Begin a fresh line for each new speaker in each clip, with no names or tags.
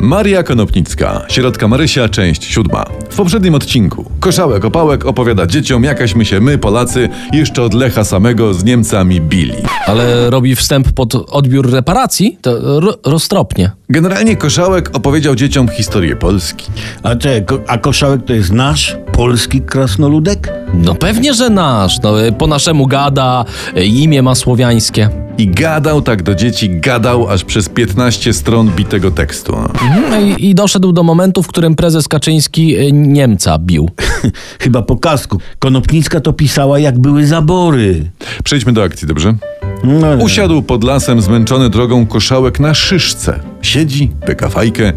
Maria Konopnicka, środka Marysia, część siódma. W poprzednim odcinku Koszałek Opałek opowiada dzieciom, jakaśmy się my, Polacy, jeszcze od Lecha samego z Niemcami bili.
Ale robi wstęp pod odbiór reparacji, to ro- roztropnie.
Generalnie Koszałek opowiedział dzieciom historię Polski.
A czy, a koszałek to jest nasz polski krasnoludek?
No pewnie, że nasz. No, y, po naszemu gada, y, imię ma słowiańskie.
I gadał tak do dzieci, gadał aż przez 15 stron bitego tekstu.
No I, I doszedł do momentu, w którym prezes Kaczyński y, Niemca bił.
Chyba po kasku. Konopnicka to pisała jak były zabory.
Przejdźmy do akcji, dobrze?
No, no.
Usiadł pod lasem zmęczony drogą koszałek na szyszce. Siedzi, pyka fajkę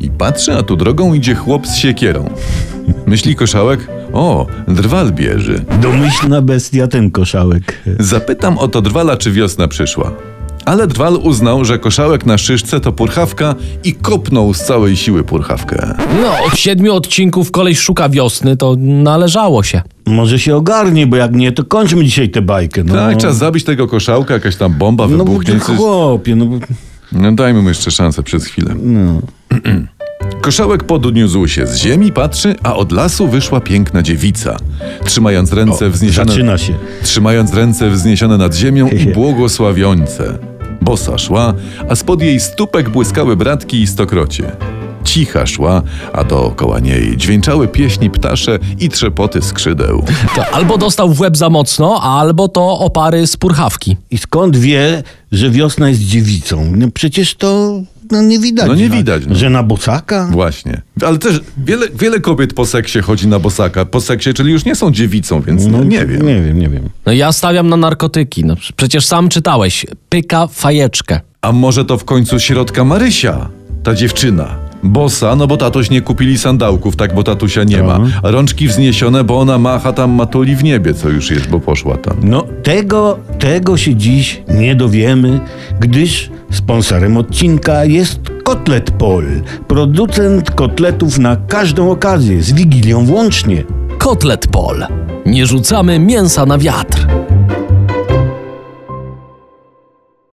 i patrzy, a tu drogą idzie chłop z siekierą. Myśli koszałek, o, drwal bierze.
Domyślna bestia ten koszałek.
Zapytam o to drwala, czy wiosna przyszła. Ale drwal uznał, że koszałek na szyszce to purchawka i kopnął z całej siły purchawkę.
No, od siedmiu odcinków koleś szuka wiosny, to należało się.
Może się ogarnie, bo jak nie, to kończmy dzisiaj tę bajkę. No.
Tak, czas zabić tego koszałka, jakaś tam bomba
No bo
wybuchnie.
ty
coś-
chłopie, no bo...
No dajmy mu jeszcze szansę przez chwilę. Koszałek podniósł się z ziemi, patrzy, a od lasu wyszła piękna dziewica. Trzymając ręce wzniesione...
Zaczyna się.
Trzymając ręce wzniesione nad ziemią i błogosławiące. Bosa szła, a spod jej stópek błyskały bratki i stokrocie. Cicha szła, a dookoła niej dźwięczały pieśni ptasze i trzepoty skrzydeł.
To albo dostał w łeb za mocno, albo to opary z purchawki.
I skąd wie, że wiosna jest dziewicą? No przecież to no, nie widać.
No nie
na-
widać, no.
Że na bocaka?
Właśnie. Ale też wiele, wiele kobiet po seksie chodzi na bosaka. Po seksie, czyli już nie są dziewicą, więc no, nie wiem.
Nie wiem, nie wiem.
No ja stawiam na narkotyki. No, przecież sam czytałeś. Pyka fajeczkę.
A może to w końcu środka Marysia, ta dziewczyna. Bosa, no bo tatoś nie kupili sandałków, tak, bo tatusia nie ma. A Rączki wzniesione, bo ona macha tam matuli w niebie, co już jest, bo poszła tam.
No tego, tego się dziś nie dowiemy, gdyż sponsorem odcinka jest Kotlet Pol, producent kotletów na każdą okazję, z Wigilią włącznie.
Kotlet Pol. Nie rzucamy mięsa na wiatr.